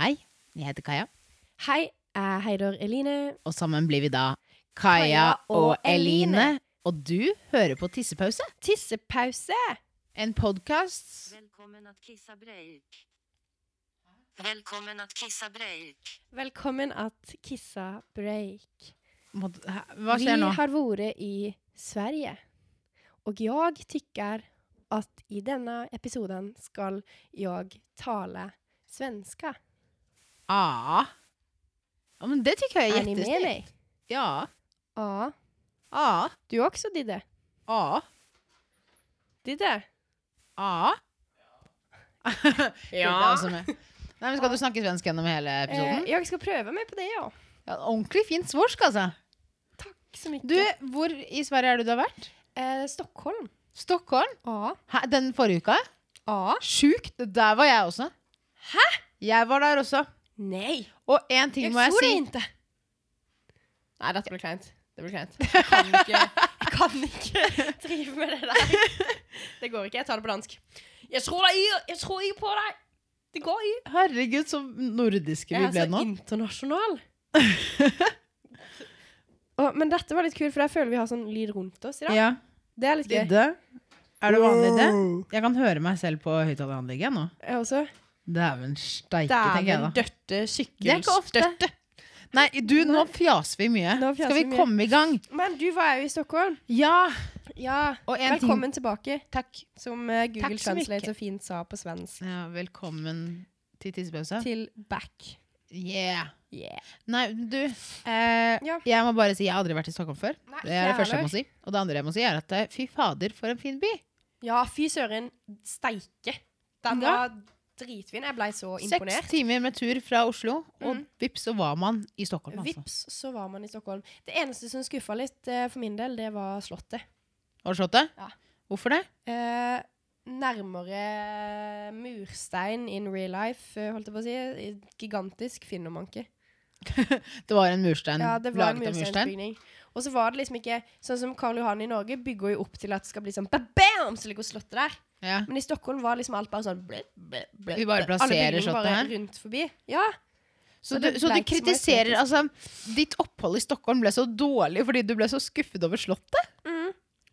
Hei, jeg heter Kaja, Hei, jeg heter Eline. og sammen blir vi da Kaja Kaja og og Eline. Eline. Og du hører på Tissepause, Tissepause! en podkast Välkommen att kissa break. Välkommen att kissa break. Velkommen at Kissa break. Hva skjer nå? Vi har vært i Sverige. Og jeg tykker at i denne episoden skal jeg tale svenska. Ah. Ja, men det tycker jag är Er ni med jättesnyggt. meg? Ja. Ja. Ja. Du også, Didde. Ja. Didde. eh, Ja. Titta, alltså, med. Nej, men ska du snacka svenska gjennom hele episoden? Eh, jeg skal prøve meg på det, ja. Ja, ordentlig fint svorsk, altså. Takk så mye. Du, hvor i Sverige er det du har vært? eh, Stockholm. Stockholm? Ja. Hæ, den forrige uka? Ja. Sjukt! Der var jeg også. Hæ? Jeg var der også. Nei. Og én ting må jeg si. inte. Nei, dette blir kleint. Det blir kleint. Jeg kan ikke, jeg kan ikke drive med det der. Det går ikke. Jeg tar det på dansk. Jeg tror deg, jeg tror ikke på deg. Det går ikke. Herregud, så nordiske Jeg vi er ble så nå. internasjonal. Å, men dette var litt kult, for jeg føler vi har sånn lyd rundt oss i dag. Ja. Det er litt gøy. Didde. Er det vanlig, det? Jeg kan høre meg selv på høyttaleranlegget nå. Jeg også. Dæven steike, tenker jeg Dæven da. døtte Det er ikke ofte. sykkelstøtte. Nei, du, nå fjaser vi mye. Nå fjaser Skal vi vi mye. komme i gang? Men du var jo i Stockholm. Ja. Ja. Og en ting Velkommen tilbake, Takk. som eh, Takk Google så mye. Translate så fint sa på svensk. Ja, velkommen til tissepause. til back. Yeah. Yeah. Nei, du. Eh, Ja. Jeg må bare si jeg har aldri vært i Stockholm før. Nei, Det er det første jeg må heller. si. Og det andre jeg må si, er at eh, fy fader, for en fin by. Ja, fy søren. Steike. Den Ja. var dritfin. Jeg blei så Seks imponert. timer med tur fra Oslo, og Mm. vips, så var man i Stockholm, altså. Vips, så var man i Stockholm. Det eneste som skuffa litt eh, for min del, det var Slottet. Har du slått det? Ja. Hvorfor det? Eh, nærmere murstein in real life, eh, holdt jeg på å si. I- Gigantisk finner man ikke. Det var en murstein Ja, det var en laget av murstein. mursteinsbygning. Og så var det liksom ikke sånn som Karl Johan i Norge bygger jo opp til at det skal bli sånn ba-bam, så ligger Slottet der. Ja. Men i Stockholm var liksom alt bare sånn blø, blø, blø. Vi bare Alle plasserer bygninger slottet bare her. rundt forbi. Ja. Så, Og du, det så ble du ikke så mye kritiserer estetisk. altså, Ditt opphold i Stockholm ble så dårlig fordi du ble så skuffet over Slottet?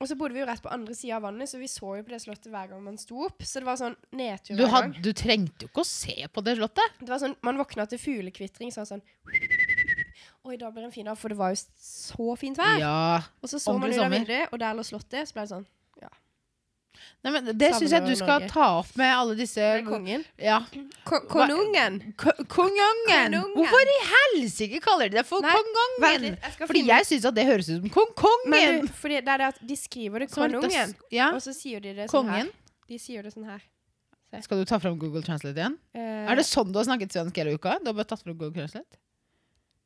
Og så bodde vi jo rett på andre sida av vannet, så vi så jo på det slottet hver gang man sto opp. Så det var sånn nedtur Du, hver gang. had, du trengte jo ikke å se på det Slottet. Det var sånn, Man våkna til fuglekvitring, så var det sånn Oi, da blir det en fin dag, for det var jo så fint vær. Ja. og så så man ordentlig ut av sommer. vinduet, og der lå slottet. Så ble det sånn Nei, men det syns jeg du Savner skal Norge. ta opp med alle disse Det er kongen. ja. Ko- Konungen! Ko- Kongongen! Kongongen. Hvorfor i helsike kaller de det for Nei, Vent kongongen? litt, jeg skal Fordi finne jeg syns at det høres ut som Men kongkongen! du, fordi det er det at de skriver det Så er det konungen, das- Ja. og så sier de det sånn Kongen. her. De sier det sånn her. Skal du ta fram Google Translate igjen? Eh, Er det sånn du har snakket svensk hele uka? Du har bare tatt fram Google Translate?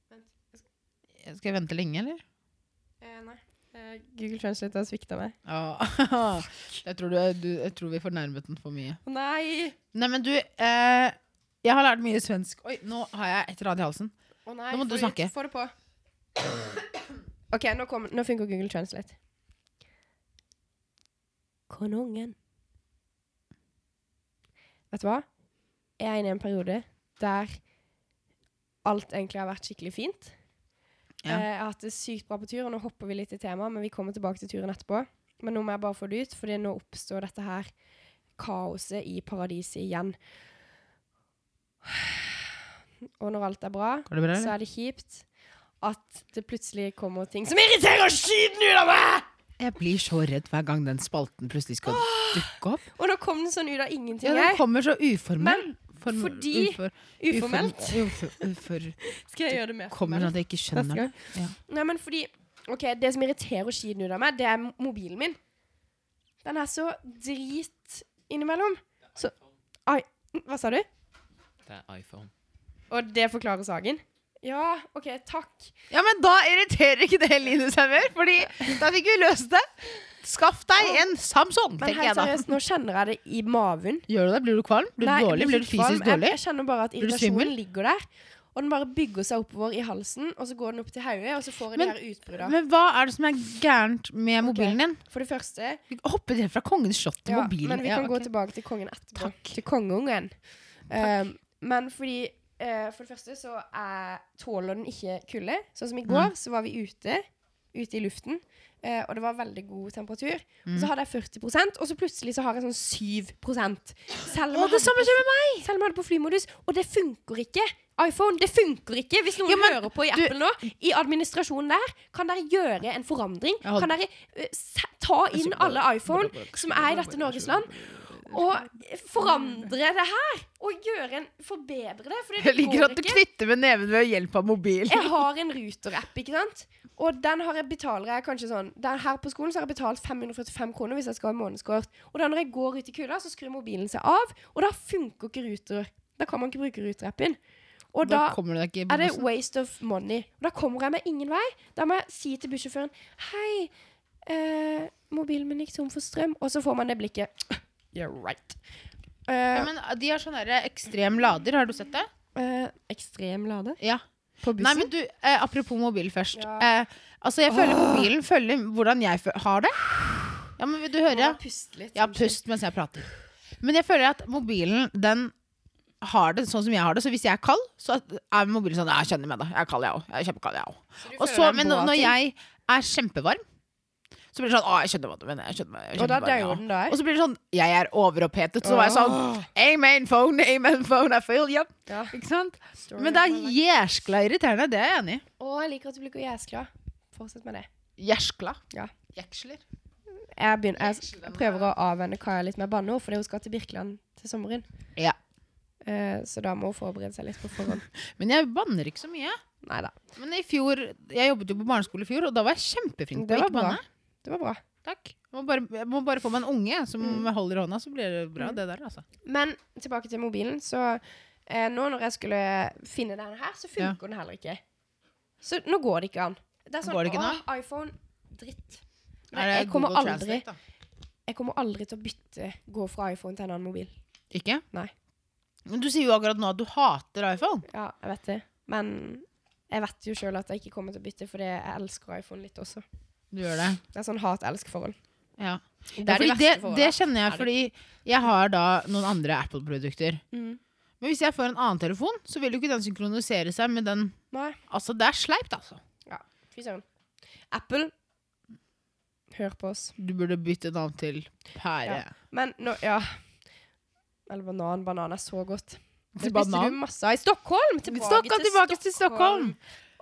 Vent, Skal jeg vente lenge, eller? eh, Nei. Eh, Google Translate har svikta meg. Ja. Ah. Jeg tror, du, du, jeg tror vi fornærmet den for mye. Å nei! Nei, men du eh, Jeg har lært mye svensk. Oi, nå har jeg et eller annet i halsen. Å nei, Nå må du få det- snakke. Få det på. OK, nå, kom, nå funker Google Translate. Konungen. Vet du hva? Jeg er inne i en periode der alt egentlig har vært skikkelig fint. Ja. Eh, Jeg har hatt det sykt bra på tur, og nå hopper vi litt i temaet, men vi kommer tilbake til turen etterpå. Men nå må jeg bare få det ut, fordi nå oppstår dette her kaoset i paradiset igjen. Og når alt er bra, Går det bra, så eller? er det kjipt at det plutselig kommer ting som irriterer skiten ut av meg! Jeg blir så redd hver gang den spalten plutselig skal dukke opp. Og nå kom den sånn ut av ingenting. Ja, den her. kommer så uformell. Men fordi- ufor, Uformelt. Ufor, ufor, Skal jeg gjøre det mer kommer sånn formelt at jeg ikke neste skjønner det. gang? Nei, men fordi Ok, det som irriterer skiten ut av meg, det er mo- mobilen min. Den er så drit innimellom. Så Ai, hva sa du? Det er iPhone. Og det forklarer saken? Ja, OK, takk. Ja, men da irriterer ikke det Line seg mer, Fordi da fikk vi løst det. Skaff deg en Samsung, Men tenker jeg helt da. seriøst, nå kjenner jeg det i maven. Gjør du det? Blir du kvalm? Blir du Nei, jeg dårlig? Blir du ikke kvalm. fysisk dårlig? Jeg, jeg kjenner bare at du irritasjonen svimmel? ligger der. Og den bare bygger seg oppover i halsen, og så går den opp til hodet, og så får jeg Men- de her utbruddene. Men hva er det som er gærent med mobilen din? For det første Vi hopper rett fra kongens slott til ja, mobilen. Men vi Ja, kan gå ok. tilbake til kongen etterpå. Takk. Til kongeungen. Um, men fordi eh, For det første så er, tåler den ikke kulde. Sånn som i går, så var vi ute. Ute i luften. eh, og det var veldig god temperatur. Og Mm. så hadde jeg 40 og så plutselig så har jeg sånn 7 Selv Å, om det samme skjer med meg! Selv om jeg hadde på flymodus. Og det funker ikke! iPhone, det funker ikke! Hvis noen Ja, men hører på i du- Apple nå, i administrasjonen der, kan dere gjøre en forandring? Jeg hadde- Kan dere eh, se- ta inn alle iPhone som er i dette Norges land, og forandre det her? Og gjøre en Forbedre det? For det Jeg liker går at du ikke. knytter med neven ved hjelp av mobil. Jeg har en Ruter-app, ikke sant? Og den har jeg betaler jeg kanskje sånn der Her på skolen så har jeg betalt 545 kroner hvis jeg skal ha månedskort. Og da når jeg går ut i kulda, så skrur mobilen seg av, og da funker ikke Ruter. Da kan man ikke bruke Ruter-appen. Og da, kommer du deg ikke i er det bonusen. waste of money. Og da kommer jeg meg ingen vei. Da må jeg si til bussjåføren Hei, eh, mobilen min gikk tom for strøm. Og så får man det blikket. You're right. Ja, Eh, men de har sånne der ekstrem lader, har du sett det? eh, ekstrem lade? Ja. På Nei, bussen? men du, eh, apropos mobil først. Ja. Eh, altså, jeg føler mobilen følger hvordan jeg fø- har det. Ja, men vil du høre? puste litt. Ja, pust mens jeg prater. Men jeg føler at mobilen, den har det sånn som jeg har det. Så hvis jeg er kald, så er mobilen sånn Jeg skjønner med det. Jeg er kald, jeg òg. Jeg er kjempekald, jeg òg. Og så, men når når jeg er kjempevarm, så blir det sånn Å, jeg skjønner hva du mener. Jeg skjønner, jeg er Og da kjempevarm, jeg dauer også». den der. Og så blir det sånn Jeg er overopphetet. Så var jeg sånn Amen phone, amen phone, I feel you. Ja. Ikke sant? Men det er jæskla irriterende. Det er jeg enig i. Å, jeg liker at du bruker jæskla. Fortsett med det. Jæskla. Ja. Jeksler. Jeg, begynner, jeg, jeg prøver å avvenne Kaja litt med banneord, fordi hun skal til Birkeland til sommeren. Ja. Eh, så da må hun forberede seg litt på forhånd. Men jeg banner ikke så mye. Nei da. Men i fjor, jeg jobbet jo på barneskole i fjor, og da var jeg kjempeflink Det til å var ikke bra. banne. Det var bra. Mm. Takk. Jeg må, bare, jeg må bare få meg en unge som holder i hånda, så blir det bra, det der, altså. Men tilbake til mobilen. Så eh, nå når jeg skulle finne den her, så funker den heller ikke. Så nå går det ikke an. Det er sånn, Går det ikke «Åh, nå?» iPhone dritt. Er Nei, det jeg, kommer Google aldri, Translate, da? jeg kommer aldri til å bytte gå fra iPhone til en annen mobil. Ikke? Nei. Men du sier jo akkurat nå at du hater iPhone. Ja, jeg vet det. Men jeg vet jo sjøl at jeg ikke kommer til å bytte, fordi jeg elsker iPhone litt også. Du gjør det. Det er sånn hat-elsk-forhold. Ja. Det Ja, er fordi det, de det verste forholdene. kjenner jeg, fordi jeg har da noen andre Apple-produkter. Mm. Men hvis jeg får en annen telefon, så vil jo ikke den synkronisere seg med den. Nei, Altså, det er sleipt, altså. fy søren. Apple, hør på oss. Du burde bytte navn til pære. Men nå, ja Eller banan. Banan er så godt. Det Til spiste banan. du masse av i Stockholm! Tilbake Stockholm, tilbake til Stockholm!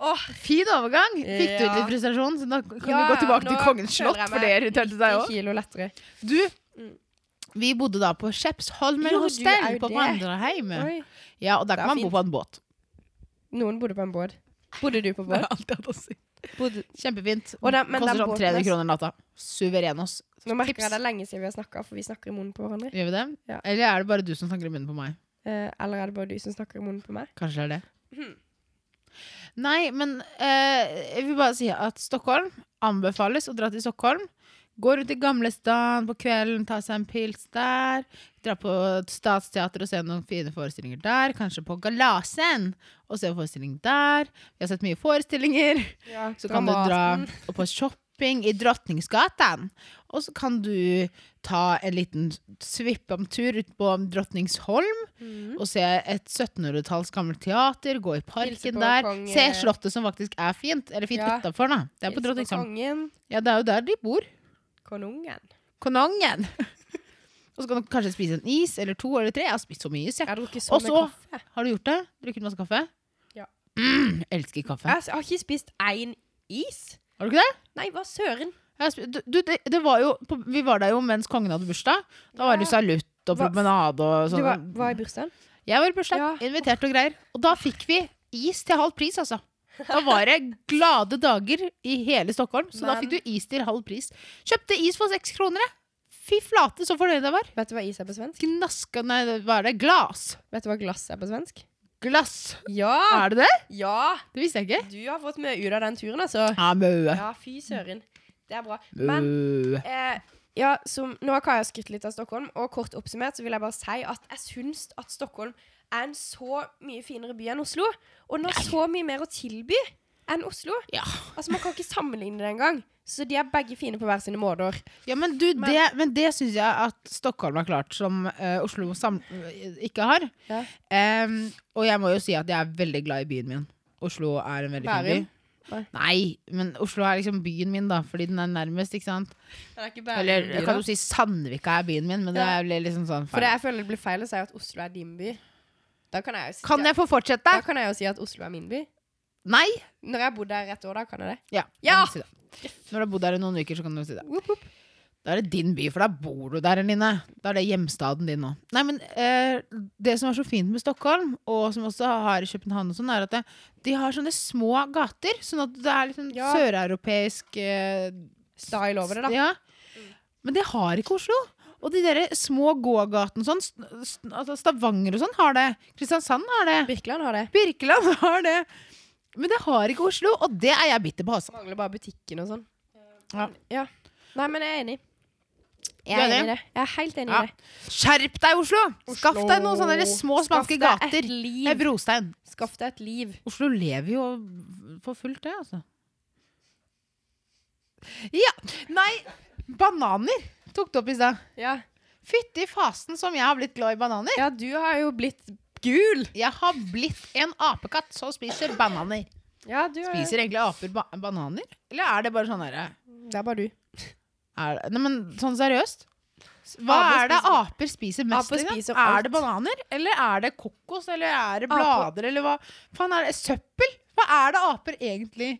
Åh, Fin overgang! Fikk du ut Ja. litt frustrasjon, så da kan Ja, du gå ja, tilbake nå til Kongens føler slott, jeg for det meg irriterte deg 10 òg. kilo lettere. Du, Mm. vi bodde da på Skjepsholmen Jo, du er hostell jo på det. Vandreheim. Oi. Ja, og der Det kan er man bo fint. på en båt. Noen bodde på en båt. Bodde du på Det båt? er alt jeg hadde å si. Bodde. Kjempefint. Og den- men Koster den sånn båten 300 er- kroner natta. Suverenos. Nå merker jeg Tips. det er lenge siden vi har snakka, for vi snakker i munnen på hverandre. Gjør vi det? Ja. Eller er det bare du som snakker i munnen på meg? Eh, eller er det bare du som snakker i munnen på meg? Kanskje det er det. Mhm. Nei, men eh, jeg vil bare si at Stockholm anbefales å dra til Stockholm. Gå rundt i Gamlestan på kvelden, ta seg en pils der. Dra på Statsteatret og se noen fine forestillinger der. Kanskje på Galasen og se en forestilling der. Vi har sett mye forestillinger. Ja, Så kan du dra på shopping i Drottningsgatan. Og så kan du ta en liten svippamtur ut på Drottningsholm og se et 1700-talls gammelt teater, gå i Hilse parken på der. konge- Se Slottet, som faktisk er fint. Eller fint Ja. utenfor, da. Det er på liksom. Drottningsholm. Kongen. Ja, det er jo der de bor. Konungen. Konongen. og så kan du kanskje spise en is eller to eller tre. Jeg har spist så mye is, jeg. Jeg har drukket Og så mye så- kaffe. Har du gjort det? Drukket masse kaffe? Ja. Mm, elsker kaffe. Jeg har ikke spist én is. Har du ikke det? Nei, hva søren. Jeg sp- Du, du, det, det var jo, på- vi var der jo mens kongen hadde bursdag. Da var det jo salutt og Hva- promenade og Du sånn. var, var i bursdagen? Jeg var i bursdag, Ja. invitert og greier. Og da fikk vi is til halv pris, altså. Da var det glade dager i hele Stockholm, så da Men- fikk du is til halv pris. Kjøpte is for seks kroner, jeg. Fy flate, så fornøyd jeg var. Vet du hva is er på svensk? Gnaska Nei, hva er det? Glass. Vet du hva glass er på svensk? Glass. Ja! Er det det? Ja! Det visste jeg ikke. Du har fått mye ut av den turen, altså. Ja, møe. Ja, fy søren. Det er bra. Men Møe. eh, ja, som, nå har Kaja skrytt litt av Stockholm, og kort oppsummert så vil jeg bare si at jeg syns at Stockholm er en så mye finere by enn Oslo. Og den har så mye mer å tilby. enn Oslo. Ja. Altså, Man kan ikke sammenligne det engang. Så de er begge fine på hver sine måter. Ja, men, du, Men- det, men det syns jeg at Stockholm har klart, som eh, Oslo sam ikke har. Ja. Em, og jeg må jo si at jeg er veldig glad i byen min. Oslo er en veldig fin Bærum? by. Nei. Nei, men Oslo er liksom byen min, da, fordi den er nærmest, ikke sant? Eller kan du si Sandvika er byen min, men det Ja. blir liksom sånn feil. For det jeg føler det blir feil å si at Oslo er din by. Da kan jeg jo si, Kan jeg få fortsette? da kan jeg jo si at Oslo er min by. Nei? Når jeg har bodd der et år, da kan jeg det. Ja. Ja! kan du Si det. Når du har bodd der i noen uker, så kan du si det. Whoop, whoop. Da er det din by, for da bor du der, Eline. Da er det hjemstaden din nå. Nei, men eh, Det som er så fint med Stockholm, og som også har i København, og sånn, er at det, de har sånne små gater. Sånn at det er liksom Ja. søreuropeisk eh, Style over det, da. Ja. Men det har ikke Oslo. Og de der små gågatene og sånn, st- st- altså Stavanger og sånn, har det. Kristiansand har det. Birkeland har det. Birkeland har det. Men det har ikke Oslo, og det er jeg bitter på, altså. Mangler bare butikken og sånn. Ja. ja. Nei, men jeg er enig. Jeg Du er er enig enig? i det. Jeg er helt enig Ja. i det. Skjerp deg, Oslo! Skaff Oslo. deg noen sånne der små Skaff spanske deg gater. Et Med liv. brostein. Skaff deg et liv. Oslo lever jo for fullt, det, altså. Ja. Nei, bananer tok du opp i stad. Ja. Fytti fasen som jeg har blitt glad i bananer. ja, du har jo blitt gul. Jeg har blitt en apekatt som spiser bananer. Ja, du har- Spiser egentlig aper ba bananer? Eller er det bare sånn herre Det er bare du. er det- Nei, men sånn seriøst. Hva Aper er det spiser- aper spiser mest Aper i? da? spiser Er alt. det bananer? Eller er det kokos? Eller er det Aper- blader? Eller hva faen er det? Søppel? Hva er det aper egentlig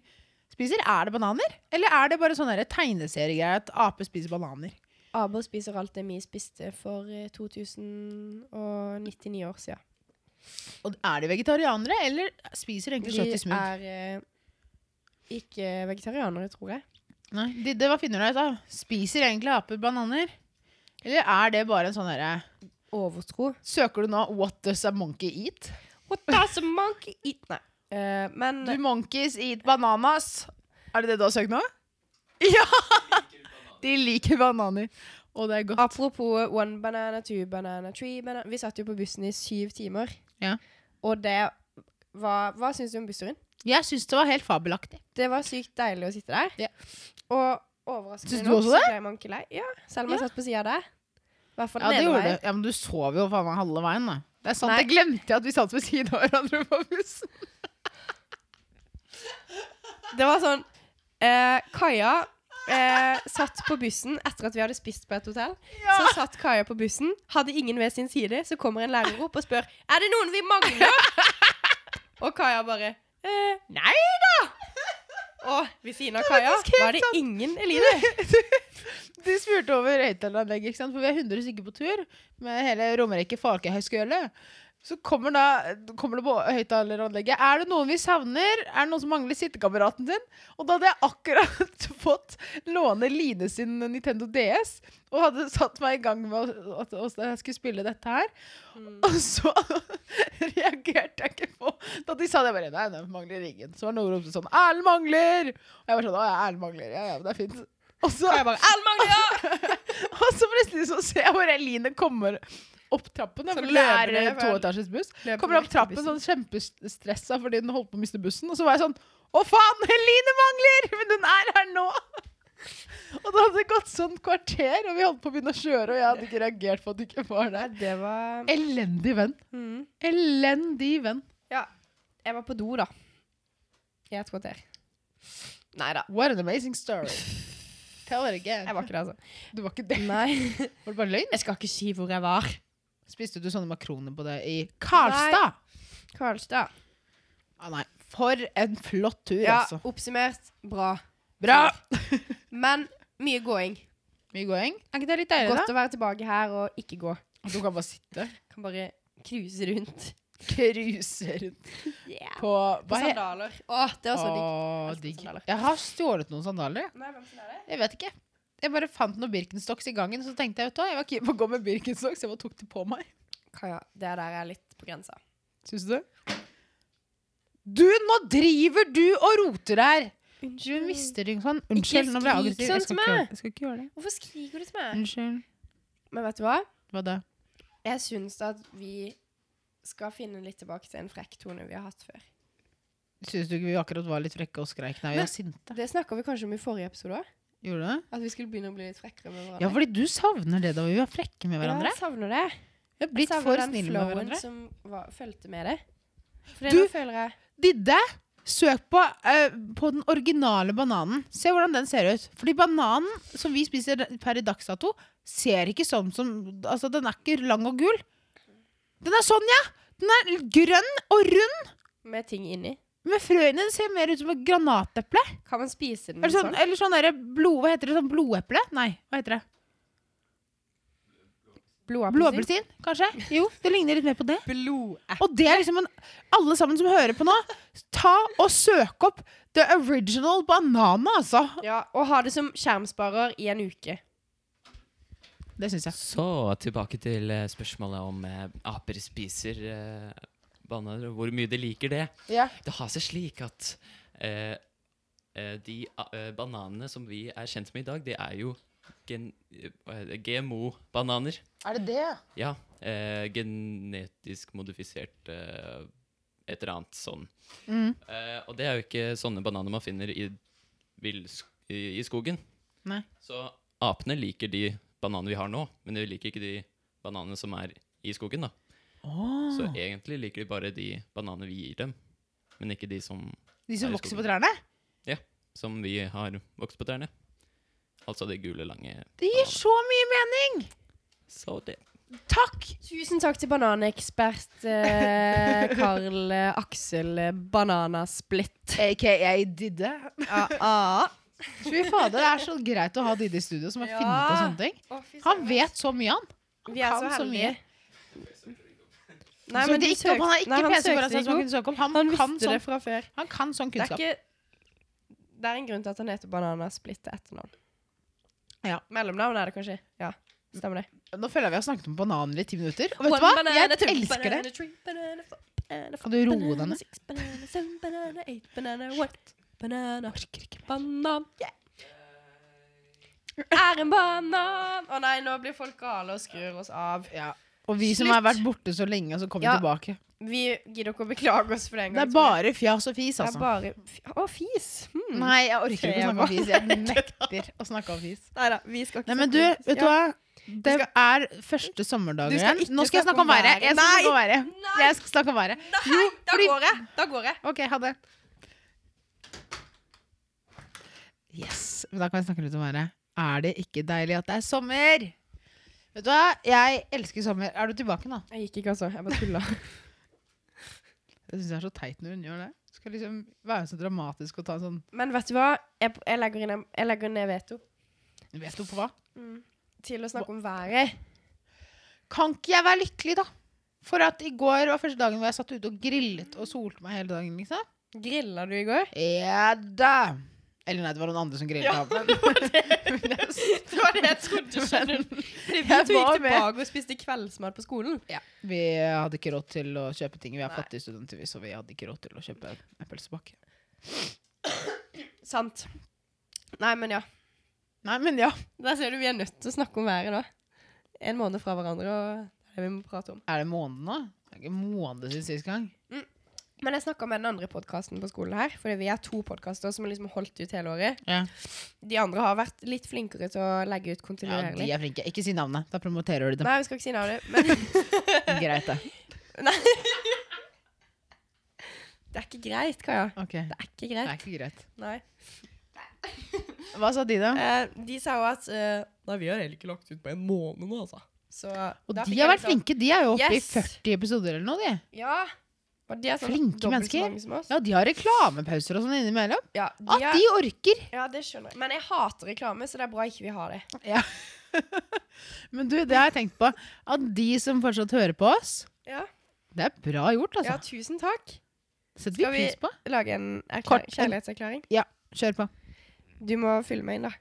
spiser? Er det bananer? Eller er det bare sånn der tegneseriegreier at aper spiser bananer? Abel spiser alt det vi spiste for eh, 2099 år siden. Og er de vegetarianere, eller spiser de egentlig De kjøtt i smug? er eh, ikke vegetarianere, tror jeg. Nei, det, det, hva finner du ut av? Spiser egentlig aper bananer? Eller er det bare en sånn herre Overtro. Søker du nå 'What does a monkey eat'? What does a monkey eat? Nei. Eh, men Do monkeys eat bananas? Er det det du har søkt nå? Ja! De liker bananer. Og det er godt. apropos one banana, two banana, three banana Vi satt jo på bussen i syv timer. Ja. Og det var Hva syns du om bussturen? Jeg syns det var helt fabelaktig. Det var sykt deilig å sitte der. Ja. Og overraskende Syns du nok også så ble man ikke lei. Ja, selv om jeg satt på sida der. I hvert fall Ja, det gjorde nedover. det. Ja, men du sov jo faen meg halve veien, da. Det er sant, Nei. jeg glemte at vi satt ved siden av hverandre på bussen. Det var sånn eh, Kaja eh, satt på bussen etter at vi hadde spist på et hotell. Så satt Kaja på bussen, hadde ingen ved sin side. Så kommer en lærer opp og spør Er det noen vi mangler. og Kaja bare eh, Nei da! Og ved siden av Kaja faktisk helt var det ingen Eline. Du spurte over høyttaleranlegget, ikke sant? For vi er 100 stykker på tur med hele Romerike Folkehøgskole. Så kommer, da, kommer det på høyttaleranlegget. Er det noen vi savner? Er det noen som mangler sittekameraten sin? Og da hadde jeg akkurat fått låne Line sin Nintendo DS. Og hadde satt meg i gang med å- at at jeg skulle spille dette her. Og så reagerte jeg ikke på Da de sa det, jeg bare Nei, den mangler ingen. Så var det noen som ropte sånn Erlend mangler! Og jeg var sånn Å ja, Erlend mangler. Ja ja, men det er fint. Og så, Kaja bare Alle mangler! og så plutselig så ser jeg hvor Eline kommer opp trappen. da, Så For det løper er dere en fra- toetasjes buss. Løper Kommer opp vekk fra trappen bussen. sånn kjempestressa fordi den holdt på å miste bussen. Og så var jeg sånn Å faen, Eline mangler! Men hun er her nå! Og da hadde det gått sånn kvarter, og vi holdt på å begynne å kjøre, og jeg hadde ikke reagert på at du ikke var der. Det var Elendig venn. mm. Elendig venn. Ja. Jeg var på do, da. I et kvarter. Nei da. What an amazing story. Tell it again. Jeg var ikke det, altså. Du var ikke det. Nei. Var det bare løgn? Jeg skal ikke si hvor jeg var. Spiste du sånne makroner på det i Karlstad? Karlstad. Ah, nei. For en flott tur, Ja, altså. oppsummert. Bra. Bra! Men mye gåing. Mye gåing. Er ikke det litt deilig, Godt å være tilbake her og ikke gå. da? Du kan bare sitte. Kan bare cruise rundt. Kruse rundt Yeah. på På hva he- sandaler. Å, det var så digg. Å, Elsker digg. sandaler. Jeg har stjålet noen sandaler. Nei, hvem sin er det? Jeg vet ikke. Jeg bare fant noen Birkenstocks i gangen, så tenkte jeg vet du hva, jeg var keen på å gå med Birkenstocks. Jeg bare tok det på meg. Kaja. Det der er litt på grensa. Syns du? Du, nå driver du og roter her! Du mister ting sånn. Unnskyld, nå ble jeg aggressiv. Jeg skrik sånn skal til ikke gjøre meg. det. Jeg skal ikke gjøre det. Hvorfor skriker du til meg? Unnskyld. Men vet du hva? Hva da? Jeg syns at vi skal finne litt tilbake til en frekk tone vi har hatt før. Syns du ikke vi akkurat var litt frekke og skreik da vi Men- var sinte? Det snakka vi kanskje om i forrige episode òg. Gjorde du det? At vi skulle begynne å bli litt frekkere med hverandre. Ja, fordi du savner det da vi var frekke med Ja, hverandre. jeg savner det. Vi har blitt Jeg savner for Altså, den snille med flowen hverandre. Som var, fulgte med det. For Du- nå føler jeg Didde, søk på, eh, på den originale bananen. Se hvordan den ser ut. Fordi bananen som vi spiser per i dags dato, ser ikke sånn som Altså, den er ikke lang og gul. Den er sånn, ja! Den er grønn og rund, med ting inni. med frøene. Den ser mer ut som et granateple. Kan man spise den Eller sånn, eller sånn derre blod... Hva heter det? Sånn blodeple? Nei, hva heter det? Blåappelsin. Blåappelsin, kanskje? Jo, det ligner litt mer på det. Blodapp. Og det er liksom en Alle sammen som hører på nå, ta og søk opp the original banana, altså. Ja, og ha det som skjermsparer i en uke. Det syns jeg. Så tilbake til eh, spørsmålet om eh, aper spiser eh, bananer, og hvor mye de liker det. Ja. Det har seg slik at eh, eh, de a- eh, bananene som vi er kjent med i dag, det er jo gen eh, GMO-bananer. Er det det? Ja. Eh, genetisk modifisert eh, et eller annet sånn. Mm. Eh, og det er jo ikke sånne bananer man finner i, vills- i, i skogen. Nei. Så apene liker de bananene vi har nå, men de liker ikke de bananene som er i skogen. da. Ah. Så egentlig liker de bare de bananene vi gir dem, men ikke de som, De som Her i vokser skogen. på trærne? som vi har vokst på trærne. Altså de gule, lange Det gir så mye mening! Så det Takk! Tusen takk til bananekspert eh, Karl eh, Aksel eh, Bananasplitt. AKA Didde. Ja, ah. Fy fader, det er så greit å ha Didde i studio, som har Ja. funnet på sånne ting. Han vet så mye, han. Vi er så kan så heldige. mye. Nei, Som men det du ikke, søkte- han er Nei, ikke PC søkte foran seg som han ikke kunne søke om. Han, opp. kan, Han visste det sånn, fra før. han kan sånn Det er kunnskap. ikke Det er en grunn til at han heter Bananasplitt til etternavn. Ja. Mellomnavn er det kanskje. Ja, stemmer det. Nå føler jeg vi har snakket om bananer i ti minutter. Og vet du hva? Jeg elsker det. Kan du roe deg ned? ned? Orker ikke. Banan. Er en banan! Å nei, nå blir folk gale og skrur oss av. Ja. Og vi som Slutt. har vært borte så lenge, og så kommer Ja. tilbake. Vi gidder ikke å beklage oss for det en Det gang. er bare fjas og fis, Det altså. er bare f- Å, fis! Hmm. Nei, jeg orker ikke å snakke om Tema. fis. Jeg nekter å snakke om fis. Neida, vi skal ikke Nei, men du, snakke om- vet du Ja. hva? Det er første sommerdag Du skal igjen. ikke Nå skal jeg snakke om været. Jeg skal Nei! snakke om været. Nei! Jeg skal snakke om været. Nei, da fordi- går jeg! Da går jeg. OK, ha det. Yes. Men da kan vi snakke litt om været. Er det ikke deilig at det er sommer? Vet du hva? Jeg elsker sommer. Er du tilbake nå? Jeg gikk ikke, altså. Jeg bare tulla. Jeg syns det er så teit når hun gjør det. Skal liksom være så dramatisk og ta en sånn Men vet du hva? Jeg, jeg, legger, inn, en- jeg legger ned veto Vet du på hva? til å snakke om været. Kan ikke jeg være lykkelig, da? For at i går var første dagen hvor jeg satt ute og grillet og solte meg hele dagen. liksom. Grilla du i går? Ja da! Eller nei, det var noen andre som grillet. Ja, av meg. Det var det jeg trodde. skjønner du. Fordi Vi Jeg to var gikk med. tilbake og spiste kveldsmat på skolen. Vi hadde ikke råd til å kjøpe ting. Vi er Nei. fattige studenter, vi, så vi hadde ikke råd til å kjøpe en pølsepakke. Sant. Nei, men ja. Nei, men ja. Der ser du vi er nødt til å snakke om været nå. En måned fra hverandre, og det er det vi må prate om. Er det måned nå? Det er ikke en måned siden sist gang. Men jeg snakka med den andre podkasten på skolen her, fordi vi er to podkaster som har liksom holdt ut hele året. Ja. De andre har vært litt flinkere til å legge ut ja, De kontinuerlig. er flinke. Ikke si navnet. Da promoterer du dem. Nei, vi skal ikke si navnet, men Greit, det. det er ikke greit, Kaja. Ok. Det er ikke Det greit. er ikke greit. Nei. Hva sa de, da? Eh, de sa jo at eh, Nei, vi har heller ikke lagt ut på en måned nå, altså. Så Og da de fikk har jeg vært liksom- flinke. De er jo oppe Yes! i 40 episoder eller noe, de. Ja. Og de er sånn Flinke dobbelt så mennesker. mange som oss. Ja, de har reklamepauser og sånn innimellom. Ja, de At er, de orker! ja, det skjønner jeg. Men jeg hater reklame, så det er bra ikke vi har det. Men du, det har jeg tenkt på. At de som fortsatt hører på oss, Ja, det er bra gjort, ja altså. tusen takk. Setter vi Skal vi- pris på. Lage en Kort, erklæring, en- kjærlighetserklæring. Kjør på. Du må fylle meg inn, da.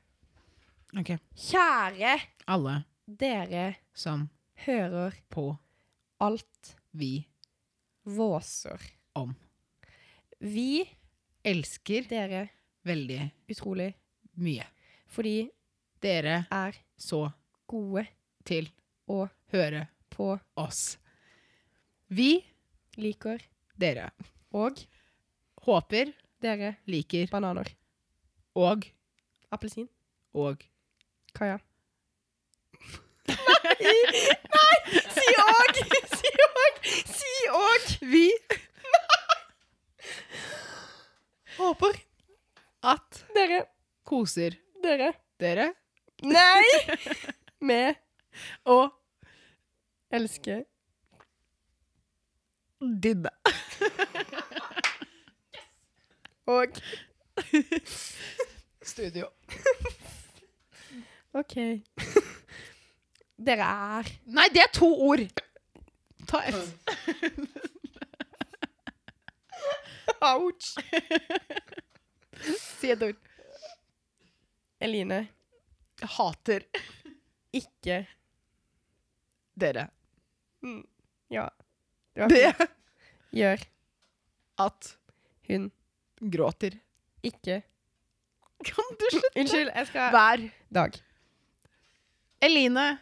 Ok. Kjære Alle dere som hører på alt vi våser Om. Vi elsker dere veldig utrolig mye. fordi Dere er så gode til Og. høre på oss. Vi, liker dere og håper, Dere. liker Bananer. og Appelsin. og. Kaja. Nei! Nei! Si òg! Si òg! Si òg! Vi Håper at dere koser Dere. dere Nei! Med og elsker didde. og Studio. OK. Dere er Nei, det er to ord! Ta ett. Ouch! Si et ord. Eline. Hater Ikke dere. Mm, Ja. Det var Det fint. Gjør at hun gråter. ikke Kan du slutte? Unnskyld, jeg skal Hver Dag. Eh, Eline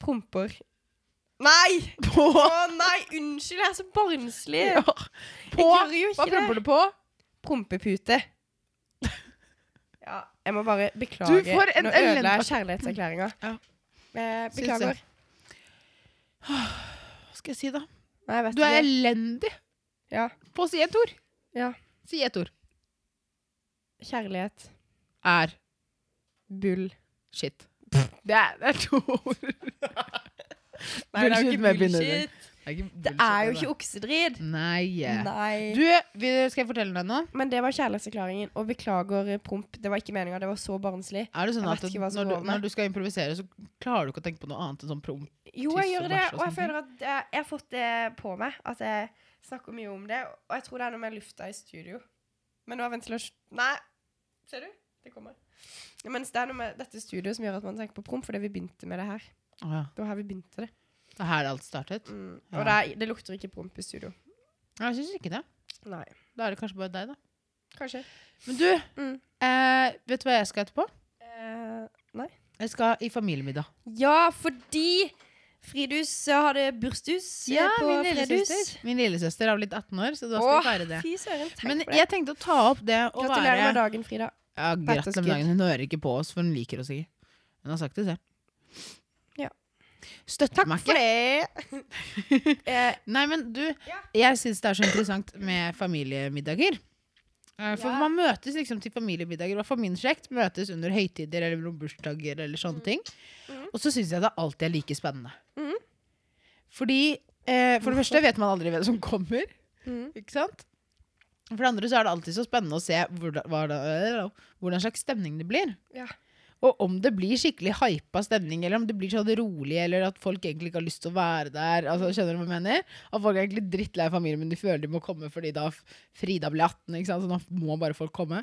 Promper. Nei! på Å nei, unnskyld, jeg er så barnslig. Ja. På Jeg gjør jo Hva ikke promper det. du på? Prompepute. Ja, jeg må bare beklage. Du får en Nå ødela elend- jeg kjærlighetserklæringa. Ja. Eh, Syns Beklager. jeg. Hva skal jeg si, da? Nei, jeg vet Du er ikke. elendig Ja. på å si et ord. Ja. Si et ord. Kjærlighet. Er Bull. shit. Det er, det er to ord. Nei, det er jo Bullshit ikke med bindestrek. bullshit. Det er jo ikke oksedrid. Nei. Nei. Du, vi, skal jeg fortelle deg noe? Men det var kjærlighetserklæringen. Og beklager eh, promp. Det var ikke meninga. Det var så barnslig. Er det sånn Jeg at vet ikke hva som når du, går med. når du skal improvisere, så klarer du ikke å tenke på noe annet enn sånn promp? Jo, Tiss og jeg gjør det. bæsj og Og jeg sånne føler at eh, jeg, jeg har fått det på meg. At jeg snakker mye om det. Og jeg tror det er noe med lufta i studio. Men nå er ventilasjon Nei! Ser du? Det kommer. Ja, Mens det er noe med dette studioet som gjør at man tenker på promp, fordi vi begynte med det her. Å ja. Det var her vi begynte det. Det er her alt startet? Mm. Og Ja. det, er, det lukter ikke promp i studio. Jeg syns ikke det. Nei. Da er det kanskje bare deg, da. Kanskje. Men du, Mm. eh, vet du hva jeg skal etterpå? Eh, Jeg skal i familiemiddag. ja, fordi Fridus hadde bursdags eh, på Fredus. Min lillesøster er blitt 18 år, så da skal vi feire det. Fy søren. Tenk Men på det. jeg tenkte å ta opp det å Gratulerer med være dagen, Frida. ja, Gratulerer med Petterskudd. dagen. Hun hører ikke på oss, for hun liker oss ikke. Hun har sagt det selv. Ja. Støtter meg ikke. det. eh, Nei, men du, Ja. jeg syns det er så interessant med familiemiddager. Eh, For Ja. man møtes liksom til familiemiddager, i hvert fall min slekt. Møtes under høytider eller bursdager eller sånne ting. Mhm. Og så syns jeg det alltid er like spennende. Mhm. Fordi eh, For det første vet man aldri hvem som kommer. mm. Ikke sant? For det andre så er det alltid så spennende å se hvordan, hva da- hvordan slags stemning det blir. Ja. Og om det blir skikkelig hypa stemning, eller om det blir sånn rolig, eller at folk egentlig ikke har lyst til å være der. Altså, skjønner du hva jeg mener? At folk er egentlig drittlei familien, men de føler de må komme fordi da f- Frida ble 18, ikke sant? så nå må bare folk komme.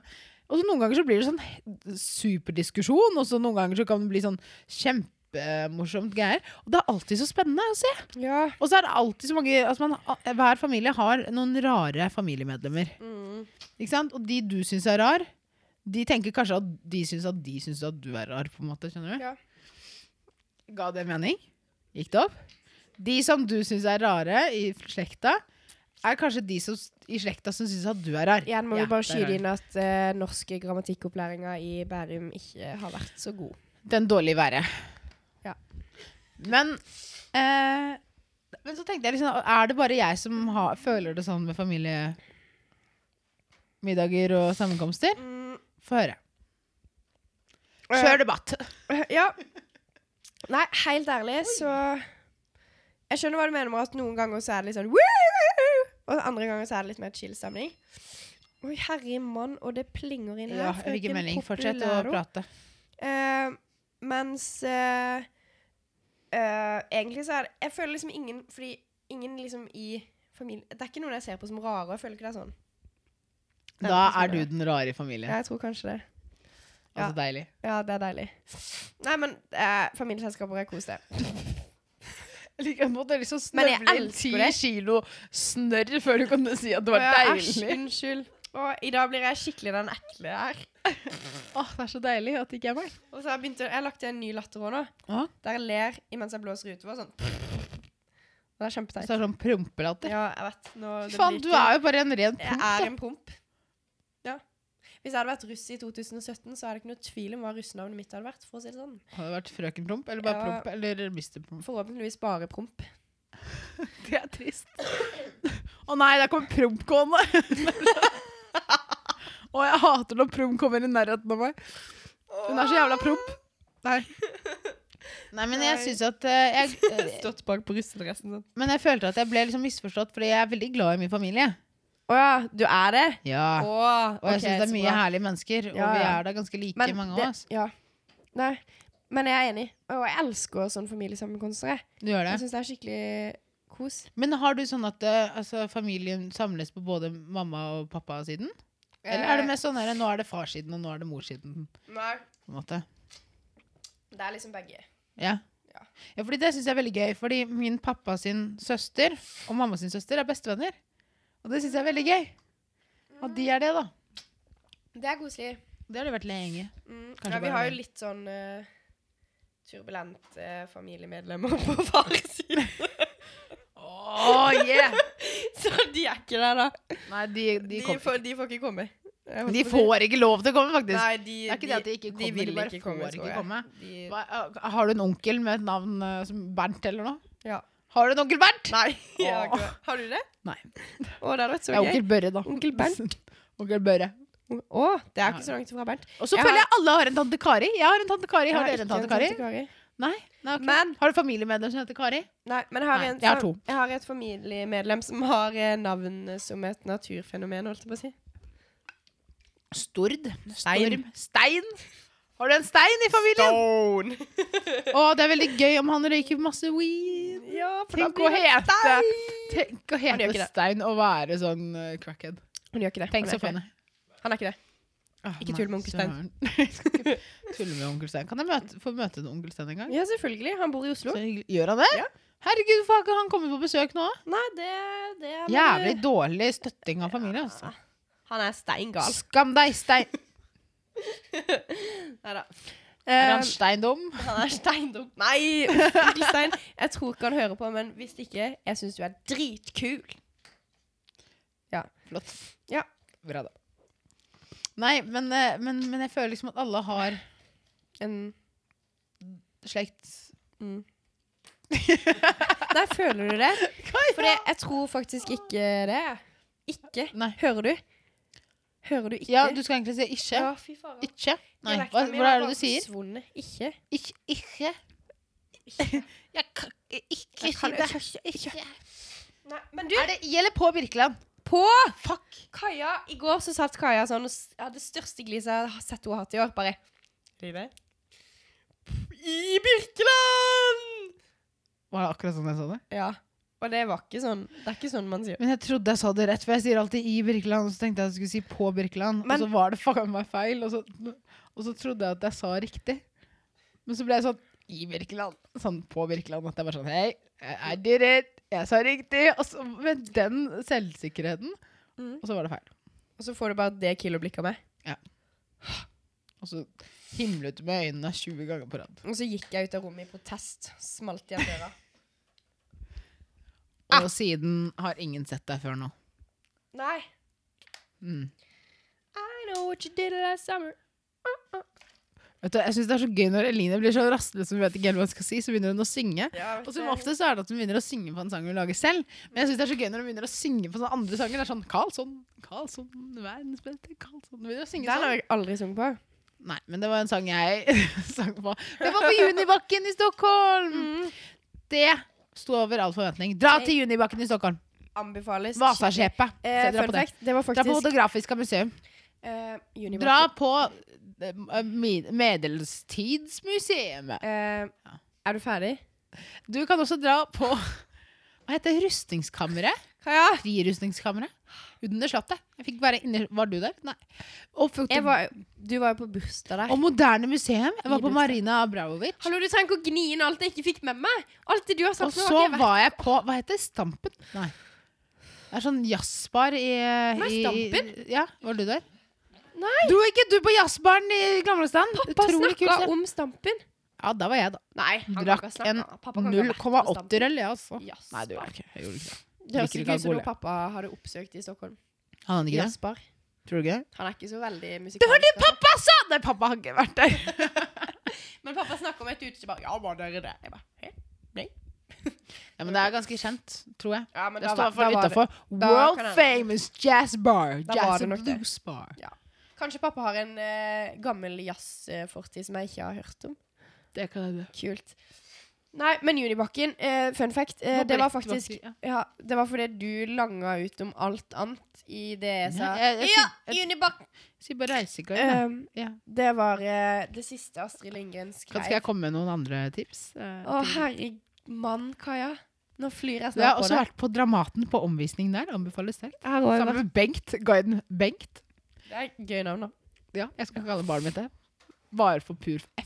Og så noen ganger så blir det sånn he- superdiskusjon, og så noen ganger så kan det bli sånn kjempemorsomt greier. Og det er alltid så spennende å se. Ja. Og så er det alltid så mange altså man, Hver familie har noen rare familiemedlemmer. Ikke sant? Og de du syns er rar, de tenker kanskje at de syns at de syns at du er rar. på en måte, skjønner du? Ja. Ga det mening? Gikk det opp? De som du syns er rare i slekta, er kanskje de som, i slekta som syns at du er rar. Igjen må Ja, vi bare der er skyte den. inn at eh, norske grammatikkopplæringa i Bærum ikke har vært så god. Den dårlige været. Ja. Men eh, Men så tenkte jeg liksom Er det bare jeg som har, føler det sånn med familiemiddager og sammenkomster? Få høre. Kjør debatt. Ja. Nei, helt ærlig, så Jeg skjønner hva du mener med at noen ganger så er det litt sånn «Woo!» Og andre ganger så er det litt mer chill stemning. Oi, herre mann, og det plinger inn her. Ja, jeg fikk frøken en melding. Fortsett å Populæro. prate. Eh, mens eh, eh, Egentlig så er det Jeg føler liksom ingen Fordi ingen liksom i familien Det er ikke noen jeg ser på som rare, og jeg føler ikke det er sånn. Den Da personen er du den rare i familien. Ja, jeg tror kanskje det. Altså ja. deilig. Ja, det er deilig. Nei, men eh, familieselskaper er kos, det. Jeg liker at du har lyst til å Men jeg snøvle inn elsker sånn ti det. kilo snørr før du kan si at det var Å, ja, æsj, deilig. Unnskyld. Og i dag blir jeg skikkelig den ekle jeg er. Åh, det er så deilig at det ikke er meg. Og så har jeg begynt å Jeg har lagt til en ny latter òg nå. Åh. Der jeg ler imens jeg blåser utover. Sånn. Og Det er kjempeteit. Så er det sånn prompelatter. Ja, jeg vet. Nå, det Faen, blir du ikke- er jo bare en ren Jeg promp. er da. en promp. Ja. Hvis jeg hadde vært russ i 2017, så er det ikke noe tvil om hva russenavnet mitt hadde vært. for å si det sånn. Har det vært frøken promp, eller bare Ja. promp, eller mister promp? Forhåpentligvis bare promp. Det er trist. Å nei, der kommer promp gående. Å, jeg hater når promp kommer i nærheten av meg. Hun er så jævla promp. Nei. Nei, men jeg Nei. syns at eh, jeg, Stått bak på russedressen sånn. Men jeg følte at jeg ble liksom misforstått, fordi jeg er veldig glad i min familie. Å ja, du er det? Ja. Å, Og jeg syns det er mye herlige mennesker, og Ja, vi ja. er da ganske like, Men mange altså. det- av oss. Ja. Nei. Men jeg er enig. Og jeg elsker sånn familiesammenkomster. jeg. Du gjør Jeg det. syns det er skikkelig kos. Men har du sånn at eh, altså, familien samles på både mamma og pappa-siden? Eller Eh, er det mest sånn her, nå er det far-siden, og nå er det mor-siden? Nei, På en måte? det er liksom begge. Ja. Ja. ja, fordi det syns jeg er veldig gøy. Fordi min pappa sin søster og mamma sin søster er bestevenner. Og det syns jeg er veldig gøy. Og de er det, da. Det er koselig. Det har de vært lenge. Mm. Kanskje Ja, vi bare har det. jo litt sånn eh, turbulent eh, familiemedlemmer på farsiden. Oh, yeah. Så de er ikke der, da. Nei, de, De, de kom får, de får ikke komme. Jeg holdt De på å si. får ikke lov til å komme, faktisk. Nei, de, Det er ikke det at de ikke kommer, de vil bare ikke får komme, ikke tror jeg. komme. De- Hva- Har du en onkel med et navn eh, som Bernt eller noe? Ja. Har du en onkel Bernt? Nei. jeg har Åh. ikke- Har du det? Nei. Å, det hadde vært Det så er gøy. onkel Børre, da. Onkel Bernt. onkel Børre. Å, det er ikke så langt fra Bernt. Og så Jeg føler har- jeg alle har en tante Kari. Jeg har en tante Kari. Har Jeg dere en ikke tante Kari? Kari. Nei? Nei ok. Men- Har du familiemedlem som heter Kari? Nei, men jeg har, Nei, en, jeg har to. jeg har et familiemedlem som har eh, navn som et naturfenomen, holdt jeg på å si. Stord. Stein. Storm. Stein. Har du en stein i familien? Stone! Å, det er veldig gøy om han røyker masse weed. Ja, for da Tenk å blir det hete Tenk å Han gjør ikke hete det. Stein og være sånn eh, crackhead. Hun gjør ikke det. Tenk Han så er ikke funny. det. Han er ikke det. Åh, Ikke nei, tull med onkel Stein. Ah, søren. Jeg skal ikke tulle med onkel Stein. Kan jeg møte, få møte en onkel Stein en gang? Ja, selvfølgelig. Han bor i Oslo. Så hyggelig. Gjør han det? Ja. Herregud, hvorfor har ikke han kommet på besøk nå? Nei, det, det er Jævlig dårlig støtting av familie. Altså. Han er steingal. Skam deg, Stein. Nei da. Er han steindom? Han er steindum. Nei, uff, onkel Stein. Jeg tror ikke han hører på, men hvis ikke, jeg syns du er dritkul. Flott. Ja. Bra, da. Nei, men, eh, men, men jeg føler liksom at alle har En, slekt mm. Nei, føler du det? For jeg tror faktisk ikke det. Ikke. Nei. Hører du? Hører du ikke? Ja, du skal egentlig si ikke. Ja, fy faen. Ikke? Nei, Dialekten hva, min hva har er det bare du sier? forsvunnet. Ikke. Ikke. ikke. Ikke. Jeg kan ikke Jeg kan si det. Ikke. Nei, men du, Er det i eller på Birkeland? på Fuck! Kaja I går så satt Kaja sånn og s- jeg hadde det største gliset jeg har sett henne hatt i år. Bare Live? I Birkeland! Var det akkurat sånn jeg sa det? Ja. Og det var ikke sånn Det er ikke sånn man sier. Men jeg trodde jeg sa det rett, for jeg sier alltid i Birkeland, og så tenkte jeg at jeg skulle si på Birkeland, Men- og så var det faen meg feil, og så, og så trodde jeg at jeg sa riktig. Men så ble jeg sånn i Birkeland, sånn på Birkeland, at jeg var sånn hei, I did it, jeg sa riktig, og så med den selvsikkerheten, Mm. og så var det feil. Og så får du bare det kiloblikket av meg. Og så himlet du med øynene 20 ganger på rad. Og så gikk jeg ut av rommet i protest. Smalt igjen døra. Ah. Og siden har ingen sett deg før nå. Nei. Mm. I know what you did last summer. Vet du, jeg synes det er så gøy når Eline blir så rastløs, som hun vet ikke helt hva hun skal si, så begynner hun å synge. Ja, vet Og som du. ofte så er det at hun begynner å synge på en sang hun lager selv. Men jeg synes det er så gøy når hun begynner å synge på sånne andre sanger. Det er sånn Karlsson, Karlsson, verdens beste Karlsson. Hun begynner å synge Den sånn. har jeg aldri sunget på. Nei, men det var en sang jeg sang på. Det var på Junibakken i Stockholm! Mm. Det sto over all forventning. Dra til Junibakken i Stockholm. Anbefales. Vasaskeppet. Eh, Så dra fun på det. fact, det var Dra på faktisk Fotografiska museum. eh, Junibakken. Dra på eh, mi- Medelstidsmuseet. Eh, er du ferdig? Du kan også dra på Hva heter det? Rustningskammeret? Kaja? frirustningskammeret under slottet. Jeg fikk være inne, Var du der? Nei. Og, foto- Jeg var, du var jo på bursdag der. og moderne museum. Jeg var på Frirusten. Marina Abramovic. Hallo, du trenger ikke å gni inn alt jeg ikke fikk med meg. Alt det du har Og sagt nå, så har ikke jeg vært var jeg på Hva heter det? Stampen? Nei. Det er sånn jazzbar i, Nei, i Stampen? Ja, var du der? Nei. Dro ikke du på jazzbaren i Gamlestad? Pappa snakka om stampen. Ja, da var jeg, da. Nei, han kan Drakk ikke snakke. en Pappa kan ikke ha vært på 0,80 øl, jeg, altså. Stampen. Jasper. Nei, du gjorde ikke jeg gjorde ikke det. Det høres Liker ikke ikke ut som noe alkohol, pappa hadde oppsøkt i Stockholm. Han hadde ikke det? Jasper. Tror du ikke det? Han er ikke så veldig musikalsk. Det var det pappa! Pappa sa det! Pappa har ikke vært der. Men pappa snakker om et utested bare Ja, var dere det? Jeg bare, «Hæ? Ja, Men det er ganske kjent, tror jeg. ja, men Det da står i var- hvert fall da var det- utafor. da World kan jeg- famous jazz bar. Da var Jazz det and nok det. blues bar. Kanskje pappa har en eh, gammel jazzfortid som jeg ikke har hørt om. Det kan jeg Kult. Nei, men Junibakken, eh, fun fact, eh, Nå det var brekte faktisk bakken, ja, Det var fordi du langa ut om alt annet i det jeg sa. Nei, jeg- jeg ja, syns- Junibakken! Si bare reisegang. da. Um, Ja. det var eh, det siste Astrid Lindgren Kan, skrev. skal jeg komme med noen andre tips? eh, Å, til- herremann, Kaja. Nå flyr jeg Jeg har snart på også det. vært på Dramaten på omvisning der. Anbefales sterkt. Jeg har også Sammen med Bengt. Guiden Bengt. vært- Det er gøy navn, da. Ja, jeg skal kalle barnet mitt det. Bare for pur F.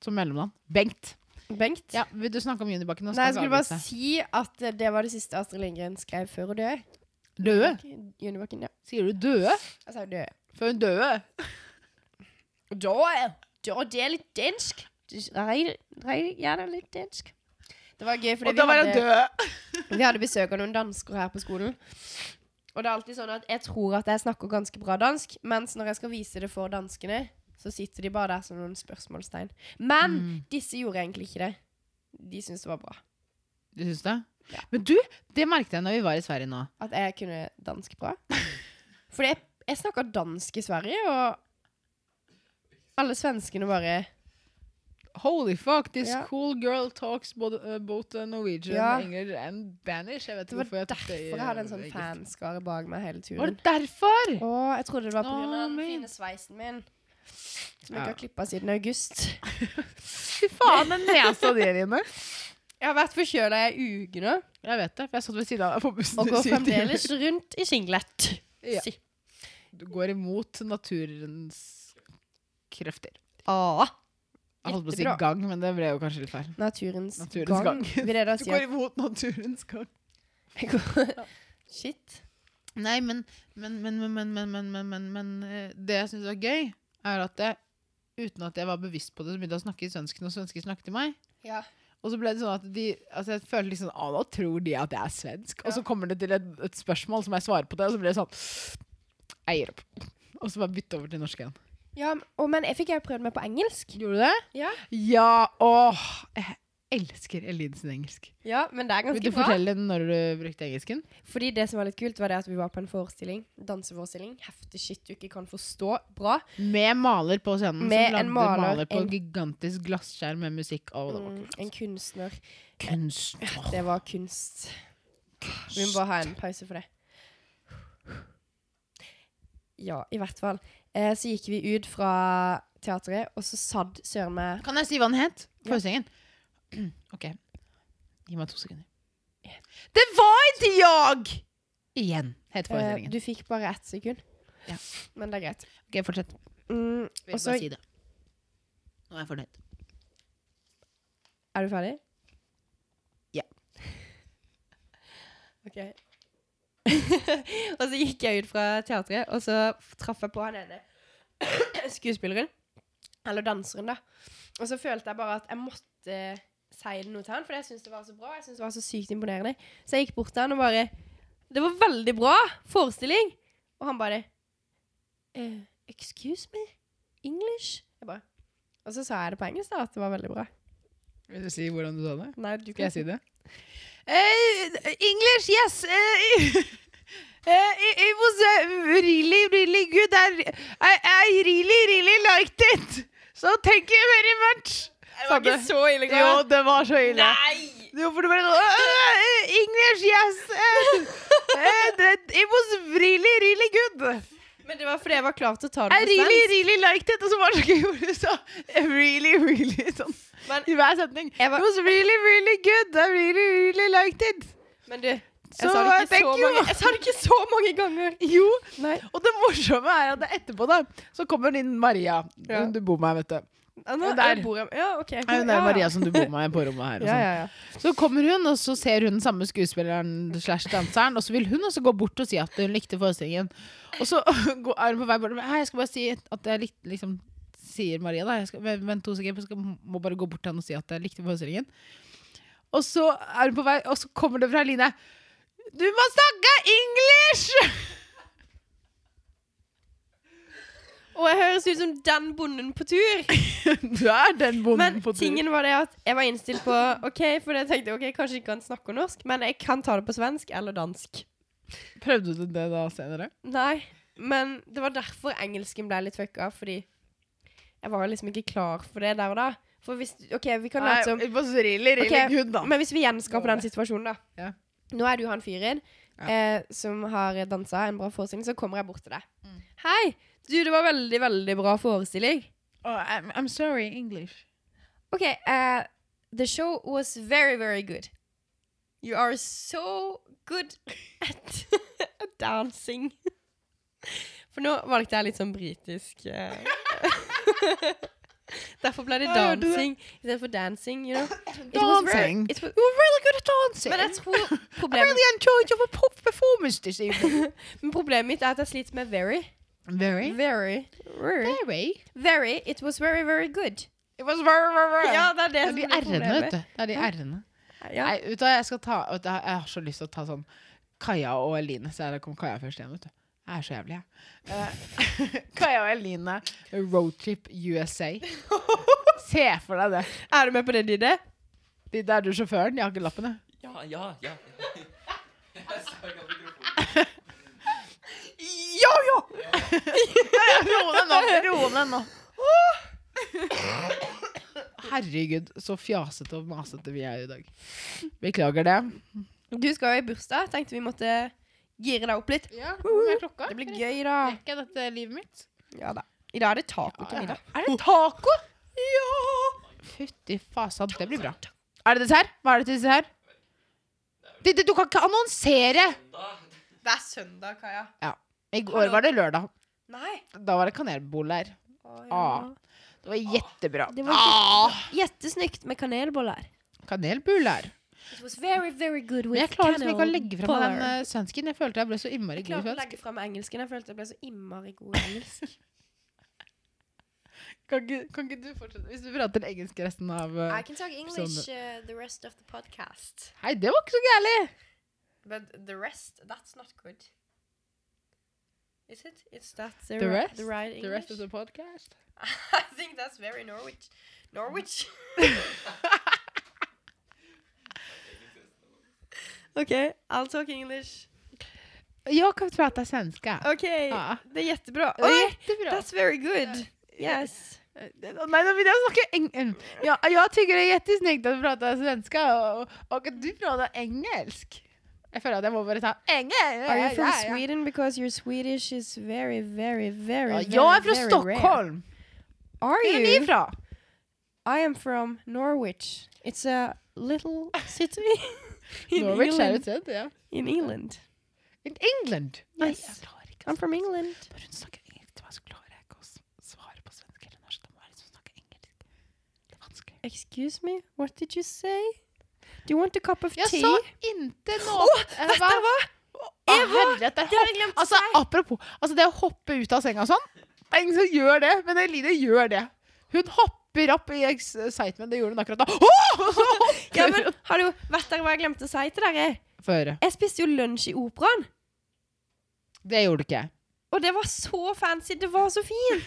Som mellomnavn. Bengt. Bengt. Ja, vil du snakke om Junibakken? og Nei, skal jeg vi skulle bare avbryte? si at eh, det var det siste Astrid Lindgren skrev før hun døde. Døde? Junibakken, ja. Sier du døde? Jeg sa jo døde. Før hun døde? Da, da det er litt dansk. Rei, rei, ja, det er litt dansk. Det var gøy, fordi Og vi da var hun hadde, død! vi hadde besøk av noen dansker her på skolen. Og det er alltid sånn at jeg tror at jeg snakker ganske bra dansk, mens når jeg skal vise det for danskene, så sitter de bare der som noen spørsmålstegn. Men Mm. disse gjorde egentlig ikke det. De syntes det var bra. Du syns det? Ja. Men du, det merket jeg når vi var i Sverige nå. At jeg kunne dansk bra. Fordi jeg, jeg snakker dansk i Sverige, og alle svenskene bare Holy fuck, this Ja. cool girl talks both, uh, both uh, Norwegian, Ja. English and Danish. Jeg vet ikke Det var hvorfor jeg tok derfor i, jeg hadde en sånn uh, fanskare bak meg hele turen. Var det derfor? Å, jeg trodde det var pga. Å, den men. fine sveisen min. Som jeg Ja. ikke har klippa siden august. Fy faen, den nesa di, Line. Jeg har vært forkjøla i ei uke nå, Jeg vet det, for jeg satt ved siden av deg på bussen. og i går syv timer. fremdeles rundt i singlet. Ja. Si. Du går imot naturens krefter. Ah, Jeg holdt på å si Jättebra. gang, men det ble jo kanskje litt feil. naturens, Naturens gang. gang. Vil det da Du si at går imot naturens gang. jeg går Shit. Nei, men, men, men, men, men, men, men, men, men, men eh, det jeg syns var gøy, er at jeg, uten at jeg var bevisst på det, så begynte jeg å snakke i svensken, og svensken snakket til meg. Ja. Og så ble det sånn at de, altså jeg følte liksom, ah, nå tror de at jeg er svensk. Og så kommer det til et, et spørsmål som jeg svarer på det, og så blir det sånn, jeg gir opp. Og så bare bytte over til norsk igjen. ja og, men jeg fikk jo prøvd meg på engelsk. Gjorde du det? Ja. Ja, åh, jeg elsker Elin sin engelsk. ja, men det er Vil du ganske bra. fortelle når du brukte engelsken? Fordi det som var litt kult, var det at vi var på en forestilling. Danseforestilling. Heftig shit du ikke kan forstå bra. Med maler på scenen. Med som lagde en maler, maler på en- en gigantisk glasskjerm med musikk. Åh, det var Mm, kult. en kunstner. Kunst. Det var kunst. Vi må bare ha en pause for det. Ja, i hvert fall. Eh, så gikk vi ut fra teatret, og så satt eh, søren meg Kan jeg si hva den het? Forestillingen? OK. Gi meg to sekunder. Det var ikke jeg! Igjen, het eh, forestillingen. Du fikk bare ett sekund. Ja. Men det er greit. OK, fortsett. Mm, Vil og så bare si det. Nå er jeg fornøyd. Er du ferdig? Ja. OK. og så gikk jeg ut fra teatret, og så traff jeg på han ene skuespilleren. Eller danseren, da. Og så følte jeg bare at jeg måtte si det noe til han, for jeg syntes det var så bra. Jeg syntes det var så sykt imponerende. Så jeg gikk bort til han og bare Det var veldig bra forestilling! Og han bare eh, Excuse me? English? Jeg bare Og så sa jeg det på engelsk, da, at det var veldig bra. Vil du si hvordan du sa det? Nei, du Skal kan jeg si det? Eh, English, yes! eh, eh, it it was eh, really, really good. I, I, I really, really liked it. So thank you very much. Det var ikke så ille Jo, det var så ille. Nei! Jo, for det var sånn eh, eh, English, yes! eh, eh, that- it was really, really good. Men det var fordi jeg var klar til å ta det I på really, svensk. really liked it. Og så var det så gøy hvor du sa eh, really, really sånn Men, i hver setning. jeg It var, was really, really good. I really, really liked it. men du, jeg Så, sa, det ikke thank så you. mange, jeg sa det ikke så mange ganger. Jo, Nei, og det morsomme er at etterpå da, så kommer din Maria. Ja. Hun du bor med, vet du. nå Der. jeg bor jeg Ja, OK. Nei, Hun er Maria som du bor med på rommet her. Og Ja, sånn. ja, ja. Så kommer hun, og så ser hun den samme skuespilleren slash danseren, og så vil hun også gå bort og si at hun likte forestillingen. Og så går- er hun på vei bort og bare, Hei, jeg skal bare si at jeg likte liksom sier Maria da, jeg skal, vent- vent to sekunder, jeg skal, må bare gå bort til han og si at jeg likte forestillingen. Og så er hun på vei, og så kommer det fra Line. Du må snakke English! Og jeg høres ut som den bonden på tur. Du er den bonden Men på tur. tingen var det at jeg var innstilt på OK, for jeg tenkte ok, kanskje ikke kan snakke norsk, men jeg kan ta det på svensk eller dansk. Prøvde du det da senere? Nei, men det var derfor engelsken ble litt fucka, fordi jeg var liksom ikke klar for det der og da. For hvis OK, vi kan late som på really, Ok, Men hvis vi gjenskaper den situasjonen, da. Ja. Nå er du han fyren Ja. eh, som har dansa en bra forestilling, så kommer jeg bort til deg. Hei! Du, det var veldig, veldig bra forestilling. Oh, I'm, I'm sorry, English. OK, eh, the show was very, very good. You are so good at, at dancing. For nå valgte jeg litt sånn britisk eh. Derfor ble det Ja, jeg hørte det. dancing istedenfor dancing, you know. It was very- Dancing? it was- You were really good at dancing. Men jeg tror I problemet really enjoyed your pop- performance this evening. Men problemet mitt er at jeg sliter med very. Eh? Very. Very. Very. Very. Very. It was very, very good. It was very, very, very. Ja, det er det Det er som de er r-ene, vet problemet. du. Det er de r-ene. Ja. Nei, vet du, hva, jeg, skal ta, vet du, jeg har så lyst til å ta sånn Kaja og Eline. Så jeg kom Kaja først igjen, vet du. Jeg er så jævlig, jeg. Eh, Kaja og Eline, roadtrip USA. Se for deg det. Er du med på det, Dide? De der du sjåføren, jeg har ikke lappen, jeg. Ja, ja, ja. Yo, yo! Ro deg nå. Ro deg nå. Herregud, så fjasete og masete vi er i dag. Beklager det. Du skal jo i bursdag. Tenkte vi måtte gire deg opp litt. Ja, hvor er klokka? Det blir gøy, da. ikke dette livet mitt? Ja da. I dag er det taco til middag. Er det taco? Ja! Fytti fasan, det blir bra. Er det dessert? Hva er det til dessert? Det, det, du kan ikke annonsere! Det er søndag, Kaja. I går var det lørdag. Nei. Da var det kanelboller. Ah. Det var jettebra. Det var Ah! jettesnykt med kanelboller. Kanelboller. It was very, very good Men jeg klarer liksom ikke å legge fra meg den eh, svensken. Jeg følte jeg ble så innmari god Jeg i klarte å svensk. legge fram engelsken. Jeg følte jeg ble så innmari god i engelsk. Kan ikke, kan ikke du fortsette hvis du prater engelsk resten av eh, I can talk English uh, the rest of the podcast. Hei, det var ikke så gærent! But the rest, that's not good. Is it? It's that The ri- rest? the right English? The rest of the podcast. I think that's very Norwich. Norwich? okay, I'll talk English. Jag kan prata svenska. Okay, Ja. det är jättebra. Ah, Det är Oj, jättebra. Eh, that's very good. Yes. Nej, då vill jag snacka engelska. Ja, jag tycker det är jättesnyggt att prata svenska och, och att du pratar engelsk. Jag føler att jag måste ta engelsk. Are you from Sweden? Because your Swedish is very, very, very, Ja, very, jag är från very Rare. Stockholm. Are Var är ni you? ifrån? I am from Norwich. It's a little city in Norwich är England. det sett, ja. In England. In England. Yes. jag klarar inte. I'm Alltså. from England. Bara du snackar engelska, så klarar jag inte att svara på svenska eller norska. Bara du snackar engelska. liksom Det är vanskligt. Excuse me, what did you say? Do you want a cup of Jag tea? sa inte något. Vet Jag du bara- hva? Å, Eva, helvete, det har hopp- jeg glemt å altså, si. Apropos, altså det å hoppe ut av senga og sånn Det er ingen som gjør det, men Eline gjør det. Hun hopper opp i excitement. Det gjorde hun akkurat da. Åh! Og så hopper Ja, men hallo, vet dere hva jeg glemte å si til dere? hun. Få høre. Jeg spiste jo lunsj i operaen, Det gjorde ikke jeg. og det var så fancy. Det var så fint.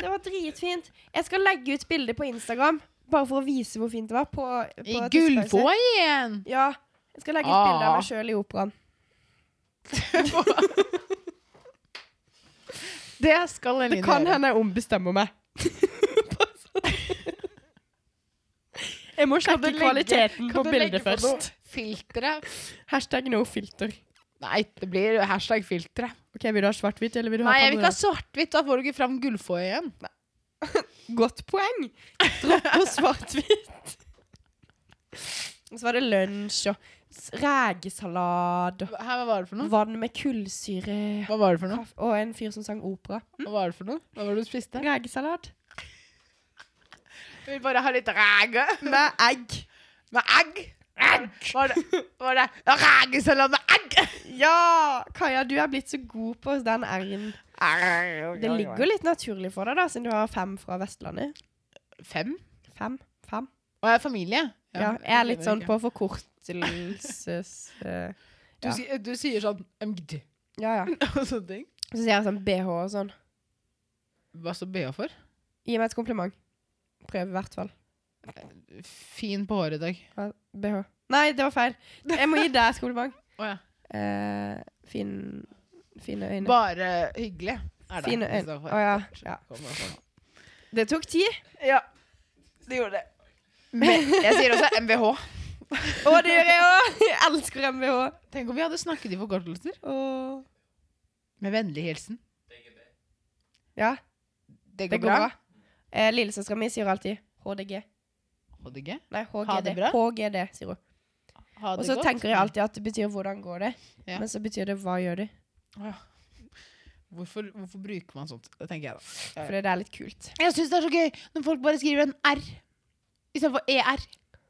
Det var dritfint. Jeg skal legge ut bilde på Instagram, bare for å vise hvor fint det var. På, på I tidspause. gullfoajeen! Ja. Jeg skal legge ut bilde av Ah. meg sjøl i operaen. Det skal Eline gjøre. hende jeg ombestemmer meg. Jeg må Kan du legge- kan du legge på noe Filtre? Hashtag no filter. Nei, det blir hashtag filtre. Ok, Vil du ha svart-hvitt, eller vil Nei, jeg vil ikke ha svart-hvitt. Da får du ikke fram gullfoajeen. Godt poeng. Dropp på svart-hvitt. Og så var det lunsj og s- rekesalat og Her, Hva var det for noe? vann med kullsyre. Hva var det for noe? kaff- Og en fyr som sang opera. Hva var det for noe? Hva var det du spiste? Rekesalat. Jeg vil bare ha litt ræge. Med egg. Med egg? Egg! Var det, var det regesalat med egg? Ja! Kaja, du er blitt så god på den r-en. Det ligger jo litt naturlig for deg, da, siden du har fem fra Vestlandet. Fem? Fem? Fem? Og jeg er familie. Ja, jeg er litt sånn lever ikke. på forkortelses... eh, du, ja. sier- du sier sånn MGD Ja, ja. og sånne ting. Så sier jeg sånn BH og sånn. Hva står BH for? Gi meg et kompliment. Prøv i hvert fall. Fin på håret i dag. Ja, BH. Nei, det var feil. Jeg må gi deg et kompliment. Å ja. Eh, fin, fine øyne. Bare hyggelig. Er det, fine i øyne. så fall. Å ja. ja. Kom og sånn. Det tok tid. Ja, det gjorde det. Men jeg sier også MBH. Å, det gjør jeg òg! Jeg elsker MBH. Tenk om vi hadde snakket i forkortelser. Å. Med vennlig hilsen. Ja, Det det går bra. Eh, Lillesøstera mi sier alltid HDG. HDG. Nei, Ha HGD. det bra. HGD, sier hun. Ha Og det så godt. tenker jeg alltid at det betyr 'hvordan går det', Ja. men så betyr det 'hva gjør du'? Mm. Hvorfor, hvorfor bruker man sånt? Det tenker jeg da. Ja. Fordi det er litt kult. Jeg syns det er så gøy når folk bare skriver en R istedenfor ER. E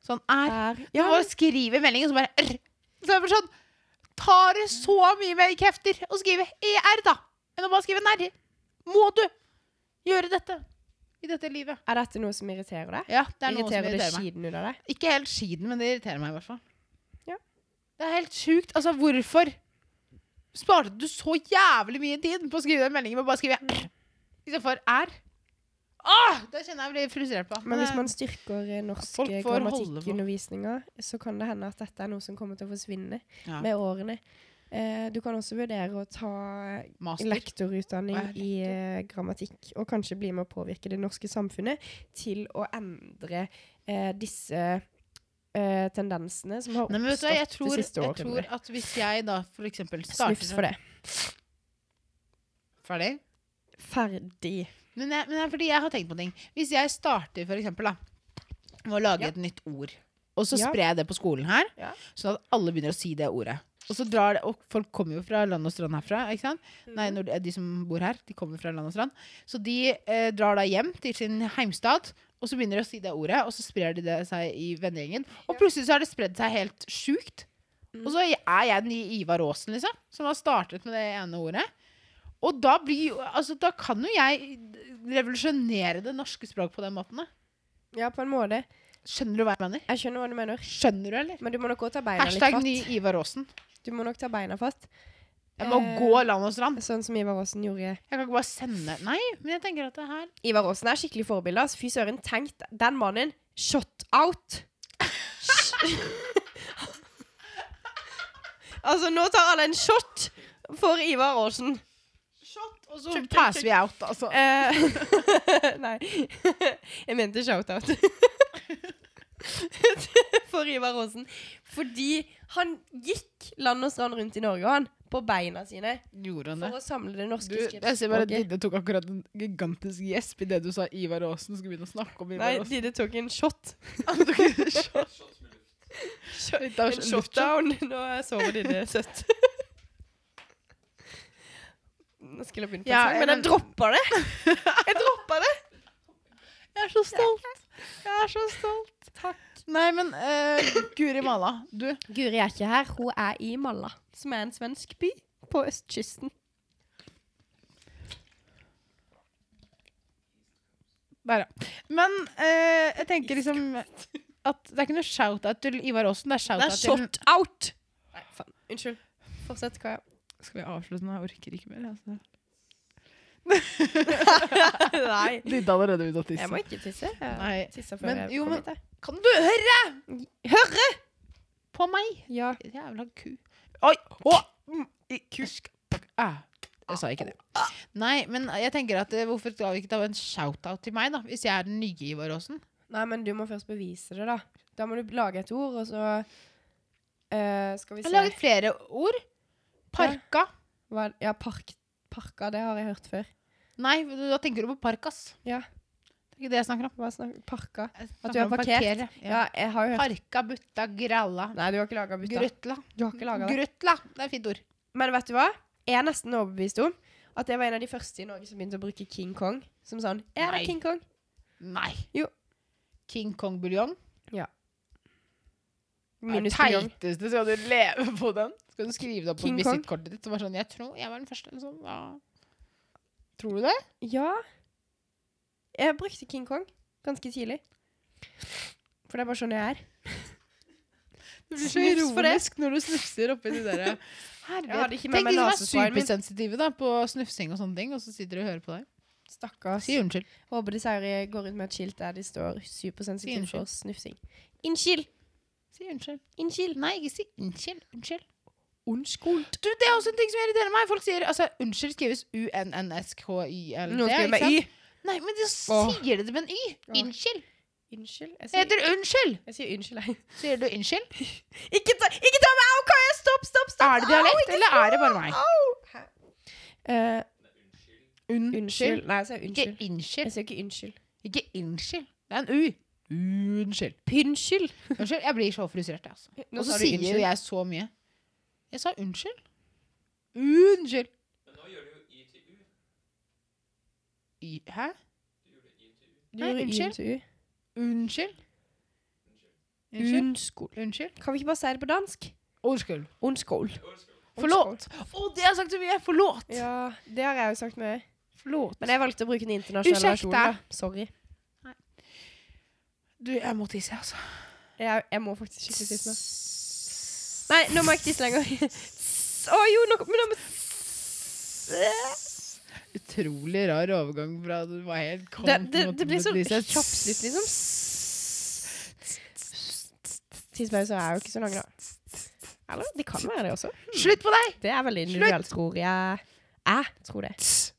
Sånn R. Ja, Og skriver meldingen, så bare R. Så jeg blir sånn Tar det så mye mer krefter å skrive ER, da, enn å bare skrive en R? Må du gjøre dette i dette livet? Er dette noe som irriterer deg? Ja, det er noe som irriterer det irriterer meg. skiden ut av deg? Ikke helt skiden, men det irriterer meg i hvert fall. Ja. Det er helt sjukt. Altså, hvorfor sparte du så jævlig mye tid på å skrive den meldingen med bare å skrive R istedenfor R? Åh, det kjenner jeg blir frustrert på. Men hvis det- man styrker eh, norsk Folk eh, får holde på. grammatikkundervisninga, så kan det hende at dette er noe som kommer til å forsvinne Ja. med årene. Eh, du kan også vurdere å ta eh, Master. lektorutdanning Hva er i eh, grammatikk, og kanskje bli med å påvirke det norske samfunnet til å endre eh, disse eh, tendensene som har Nei, men vet du hva, jeg oppstått tror, de siste jeg tror årene. at hvis jeg da for eksempel Snufs starter sånn for det. Ferdig? Ferdig. Men, jeg, men det er fordi jeg har tenkt på ting. Hvis jeg starter for eksempel da, med å lage Ja. et nytt ord, og så Ja. sprer jeg det på skolen her, Ja. sånn at alle begynner å si det ordet. Og så drar det, og folk kommer jo fra land og strand herfra. ikke sant? Mhm. Nei, når de, de som bor her, de kommer fra land og strand. Så de eh, drar da hjem til sin heimstad, og så begynner de å si det ordet, og så sprer de det seg i vennegjengen. Og plutselig så har det spredd seg helt sjukt. Og Mhm. så er jeg den nye Ivar Aasen, liksom, som har startet med det ene ordet. Og da, blir, jo- altså, da kan jo jeg revolusjonere det norske språk på den måten. da. Ja, på en måte. Skjønner du hva jeg mener? Jeg skjønner hva du mener. Skjønner du, eller? Men du må nok også ta beina Hashtag ny litt fast. Ivar Aasen. Du må nok ta beina fast. Jeg må Eh. gå land og strand. Sånn som Ivar Aasen gjorde Jeg kan ikke bare sende Nei, men jeg tenker at det her Ivar Aasen er skikkelig forbilde. ass. Fy søren, tenk d- den mannen. Shot out! altså, nå tar alle en shot for Ivar Aasen. Og så passer vi out, altså. Eh, nei, jeg mente shout-out. for Ivar Aasen. Fordi han gikk land og strand rundt i Norge, han. På beina sine. Gjorde han det? For å samle det norske Du, jeg ser bare at skriftspråket. Didde tok akkurat en gigantisk gjesp idet du sa Ivar Aasen. Skulle begynne å snakke om Nei, Ivar Aasen. Didde tok en shot. Litt av En en luftshot. shutdown. Nå sover de det søtt. Nå skulle jeg begynne på en Ja, sang, men men- jeg droppa det. Jeg droppa det. Jeg er så stolt. Jeg er så stolt. Takk. Nei, men eh, Guri malla, du. Guri er ikke her. Hun er i Malla, som er en svensk by på østkysten. Der, ja. Men eh, jeg tenker liksom at det er ikke noe shout-out til Ivar Aasen. Det er Det er shout-out til shot out. Nei, faen. Unnskyld. Fortsett, Kaja. Skal vi avslutte nå? Jeg orker ikke mer. Altså. Nei. Didde allerede begynte å tisse. Jeg må ikke tisse. Jeg Nei. tissa før Men jeg jo, kom men- hit. jeg. Kan du høre? Høre på meg? Ja. Jævla ku. Oi! Å! Mm, i- Kusk. Ah, Jeg sa ikke det. Nei, men jeg tenker at eh, hvorfor skal vi ikke ta en shout-out til meg, da? Hvis jeg er den nye Ivar Aasen? Nei, men du må først bevise det, da. Da må du lage et ord, og så eh, Skal vi Jeg se har laget flere ord. Parka. Hva- Ja, park, parka, det har jeg hørt før. Nei, da tenker du på Parkas. Ja. Det er ikke det jeg snakker om. Hva snakker Parka? Jeg At du har snakker om parkert? parkere. Ja, Ja. jeg har jo hørt Parka, butta, gralla. Nei, du har ikke laga butta. Grutla. Du har ikke laget det. Grutla. Det er et fint ord. Men vet du hva? Jeg er nesten overbevist om at jeg var en av de første i Norge som begynte å bruke King Kong som sånn Er det Nei. King Kong? Nei. Jo. King Kong buljong? Ja. Det Minus Pyong. teiteste skal du leve på den. Skal du skrive det opp på King Kong? visittkortet ditt? Som var sånn, jeg tror jeg var den første. Liksom. Ja. Tror du det? Ja. Jeg brukte King Kong ganske tidlig. For det er bare sånn jeg er. Du blir så ironisk når du snufser oppi de der. Jeg hadde ikke med Tenk de meg som er nesesprayen min. supersensitive da, på snufsing og sånne ting, og så sitter de og hører på deg. Stakkars. Si unnskyld. Håper de sier jeg går ut med et skilt der de står supersensitiv Unnskyld. for snufsing. Unnskyld! Si unnskyld. Unnskyld! Nei, ikke si unnskyld. Unnskyld. Unnskyld. Du, det er også en ting som irriterer meg. Folk sier altså, unnskyld skrives U-N-N-S-K-Y-L-D. Noen skriver med ikke Y. sant? Nei, men de Åh. sier det med en Y. Åh. Unnskyld. Unnskyld. Jeg Det sier, heter unnskyld. jeg sier unnskyld, jeg. Sier du unnskyld? Ikke ta, ikke ta meg! Au, Kaja! Stopp, stopp, stopp! Er det dialekt, eller er det bare meg? Eh, Unnskyld. unnskyld. Nei, jeg sier Ikke unnskyld. innskyld. Jeg sier ikke unnskyld. Ikke innskyld. Det er en U. Unnskyld. Pynnskyld. Unnskyld, Jeg blir så frustrert. jeg, Altså. Nå Og så sa du sier unnskyld. jeg så mye. Jeg sa unnskyld. Unnskyld. Men nå gjør du jo Y til U. Y- Hæ? Du gjorde Y til U. Du Nei, gjorde unnskyld. unnskyld. Unnskyld. Unnskyld. Unnskyld. Unnskyld. Kan vi ikke bare si det på dansk? Unnskyld. Unnskyld. Forlåt. Å, det har jeg sagt så mye! Forlåt. Ja, det har jeg jo sagt mye. Forlåt. Men jeg valgte å bruke den internasjonale Ursäkta. versjonen. da. Sorry. Du, jeg må tisse, altså. Jeg, jeg må faktisk skikkelig tisse nå. Nei, nå må jeg ikke tisse lenger. Å jo, nå men nå må Utrolig rar overgang fra at du var helt det, kant det, mot- det blir mot sånn disse. kjappslitt, liksom. Tidspauser er jo ikke så lange, da. Eller? Det kan være det også. Slutt på deg! Det er veldig individuelt, tror jeg. Jeg tror det.